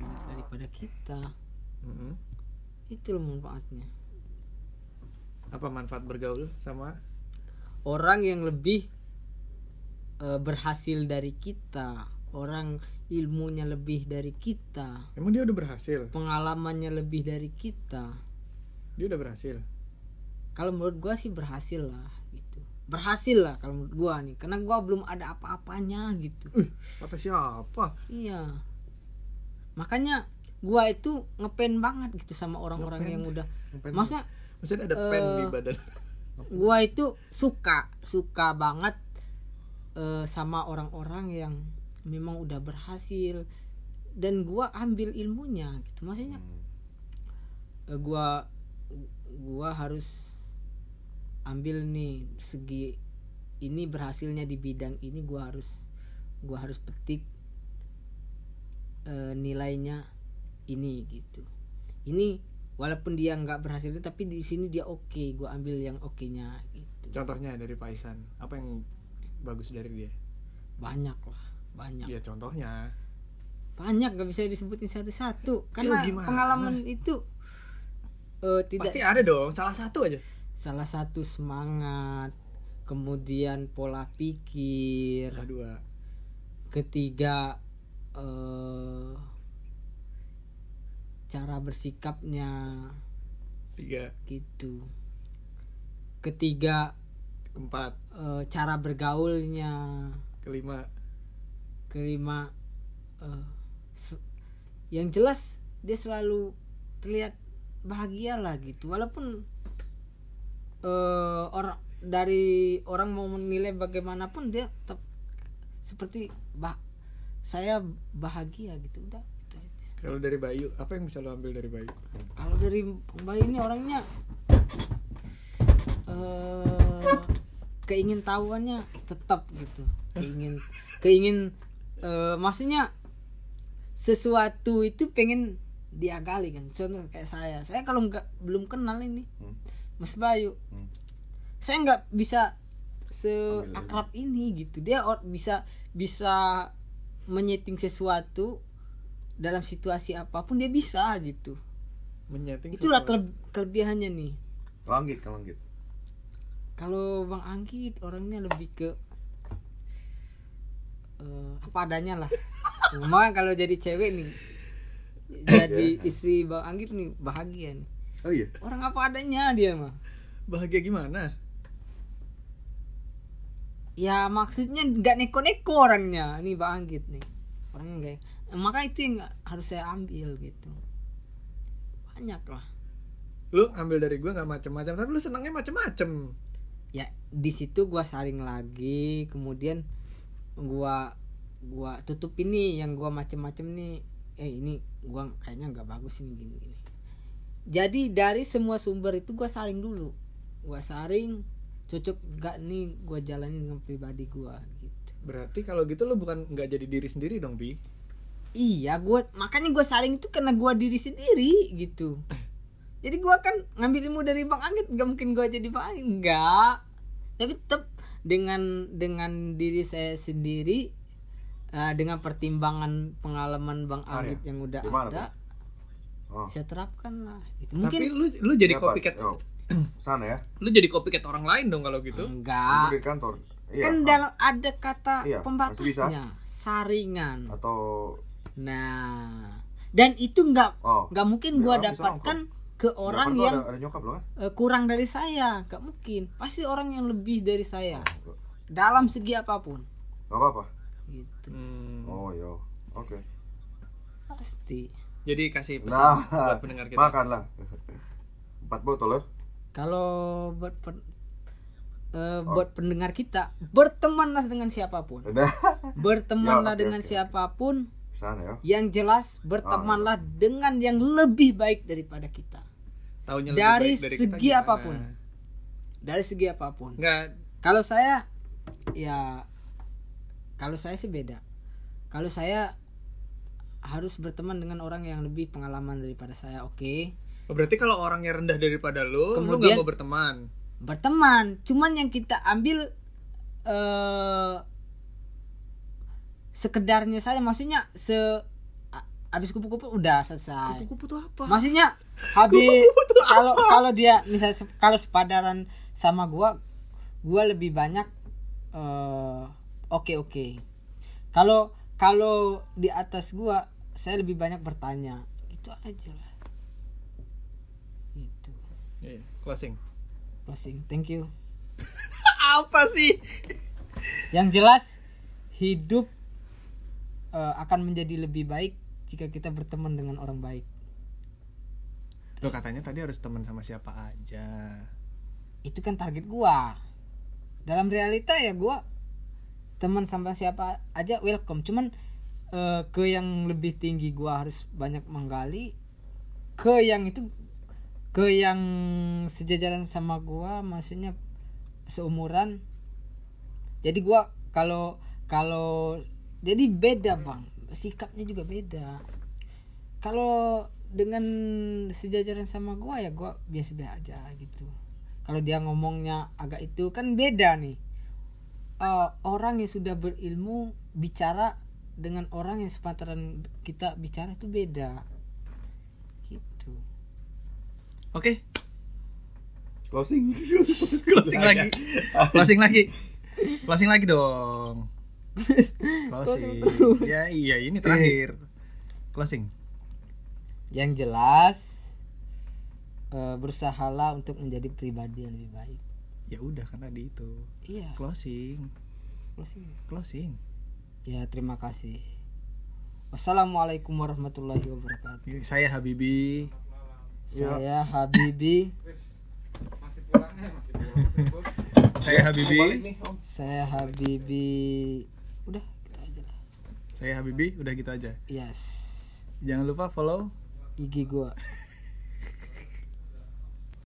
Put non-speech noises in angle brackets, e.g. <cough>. kepada kita Mm-mm. itu loh manfaatnya Apa manfaat bergaul sama orang yang lebih eh, berhasil dari kita orang ilmunya lebih dari kita Emang dia udah berhasil? pengalamannya lebih dari kita Dia udah berhasil. kalau menurut gua sih berhasil lah gitu berhasil lah kalau menurut gua nih karena gua belum ada apa-apanya gitu Uh, kata siapa? iya makanya gua itu ngepen banget gitu sama orang-orang yang udah Ngapain- masa Maksudnya ada pen di badan. <laughs> gua itu suka suka banget eh, sama orang-orang yang memang udah berhasil dan gua ambil ilmunya gitu maksudnya eh, gua gua harus ambil nih segi ini berhasilnya di bidang ini gua harus gua harus petik eh, nilainya ini gitu ini walaupun dia nggak berhasil tapi di sini dia oke gua ambil yang oke nya gitu Contohnya dari Paisan, apa yang bagus dari dia? banyak lah banyak Ya contohnya. banyak nggak bisa disebutin satu-satu Ya, karena gimana? pengalaman itu eh, tidak Pasti ada dong, salah satu aja. salah satu semangat kemudian pola pikir Salah dua. ketiga eh, cara bersikapnya Tiga, gitu ketiga empat, eh, cara bergaulnya kelima. kelima eh, se- yang jelas dia selalu terlihat bahagia lah gitu walaupun eh orang dari orang mau menilai bagaimanapun dia tetap seperti bah saya bahagia gitu udah gitu aja Kalau dari Bayu, apa yang bisa lo ambil dari Bayu? kalau dari Mbak ini orangnya eh keingin tahuannya tetap gitu keingin keingin eh, maksudnya sesuatu itu pengen diakali kan contoh kayak saya saya kalau nggak belum kenal ini Mas Bayu Hmm. saya nggak bisa seakrab ini gitu dia or- bisa bisa menyeting sesuatu dalam situasi apapun dia bisa gitu Menyeting itulah sesuatu. kele- kelebihannya nih Langgit, kalau langgit. kalau bang Anggit orangnya lebih ke eh, apa adanya lah cuma kalau jadi cewek nih jadi istri bang Anggit nih bahagia nih Oh iya. orang apa adanya dia mah bahagia gimana? ya maksudnya nggak neko-neko orangnya nih bang Anggit nih orangnya kayak maka itu yang harus saya ambil gitu banyak lah Lu ambil dari gua nggak macem-macem, tapi lu senangnya macem-macem. ya di situ gua saring lagi kemudian gua gua tutup ini yang gua macem-macem nih eh ini gua kayaknya nggak bagus ini gini gini jadi dari semua sumber itu gua saring dulu gua saring cocok nggak nih gua jalanin dengan pribadi gua gitu Berarti kalau gitu lu bukan nggak jadi diri sendiri dong, Bi? iya gua makanya gua saring itu karena gua diri sendiri gitu jadi gua kan ngambil ilmu dari bang Anggit nggak mungkin gua jadi bang Anggit enggak tapi tetap dengan dengan diri saya sendiri eh, dengan pertimbangan pengalaman bang Ah, Anggit iya. yang udah Gimana, ada Oh. saya terapkan lah gitu. Tapi mungkin lu lu jadi Dapat. copycat. Oh. Sana ya. Lu jadi copycat orang lain dong kalau gitu. Itu enggak di kantor. Iya. Ah. kan ah. dalam ada kata Iya, pembatasnya saringan atau nah dan itu nggak oh. nggak mungkin Biar gua orang bisa dapatkan ke orang Depan tuh yang ada, ada nyokap lo kan? eh, kurang dari saya nggak mungkin pasti orang yang lebih dari saya dalam segi apapun Gak apa-apa. gitu Hmm, Oh iya. Oke. pasti Jadi kasih pesan Nah, buat pendengar kita. makanlah. Empat botol ya. kalau buat pen- eh, Oh. buat pendengar kita bertemanlah dengan siapapun Udah. <laughs> bertemanlah Ya, oke, dengan oke. siapapun Sana ya. yang jelas Ah. bertemanlah dengan yang lebih baik daripada kita Taunya lebih Dari baik dari segi kita gimana? apapun. dari segi apapun Nggak kalau saya ya kalau saya sih beda kalau saya harus berteman dengan orang yang lebih pengalaman daripada saya oke Oh, berarti kalau orangnya rendah daripada lu, lu nggak Kemudian- mau berteman. berteman cuman yang kita ambil eh sekedarnya saya maksudnya se a- habis kupu-kupu udah selesai kupu-kupu tuh apa maksudnya habis kalau kalau dia misalnya se- kalau sepadaran sama gua gua lebih banyak eh, oke oke kalau kalau di atas gua saya lebih banyak bertanya itu aja lah Gitu. itu Iya, closing closing thank you <laughs> apa sih yang jelas hidup eh, akan menjadi lebih baik jika kita berteman dengan orang baik lo katanya tadi harus teman sama siapa aja itu kan target gua dalam realita ya gua teman sama siapa aja welcome cuman eh, ke yang lebih tinggi gua harus banyak menggali ke yang itu ke yang sejajaran sama gua maksudnya seumuran jadi gua kalau kalau jadi beda bang sikapnya juga beda kalau dengan sejajaran sama gua ya gua biasa-biasa aja gitu kalau dia ngomongnya agak itu kan beda nih Eh, orang yang sudah berilmu bicara dengan orang yang sepantaran kita bicara itu beda gitu oke Closing. closing lagi closing lagi closing lagi <laughs> dong closing ya iya ini terakhir closing yang jelas eh, bersahalah untuk menjadi pribadi yang lebih baik ya udah kan tadi itu iya closing closing. closing ya terima kasih wassalamualaikum warahmatullahi wabarakatuh saya Habibi saya Habibi saya Habibi saya Habibi udah gitu aja lah saya Habibi udah gitu aja yes jangan lupa follow IG gua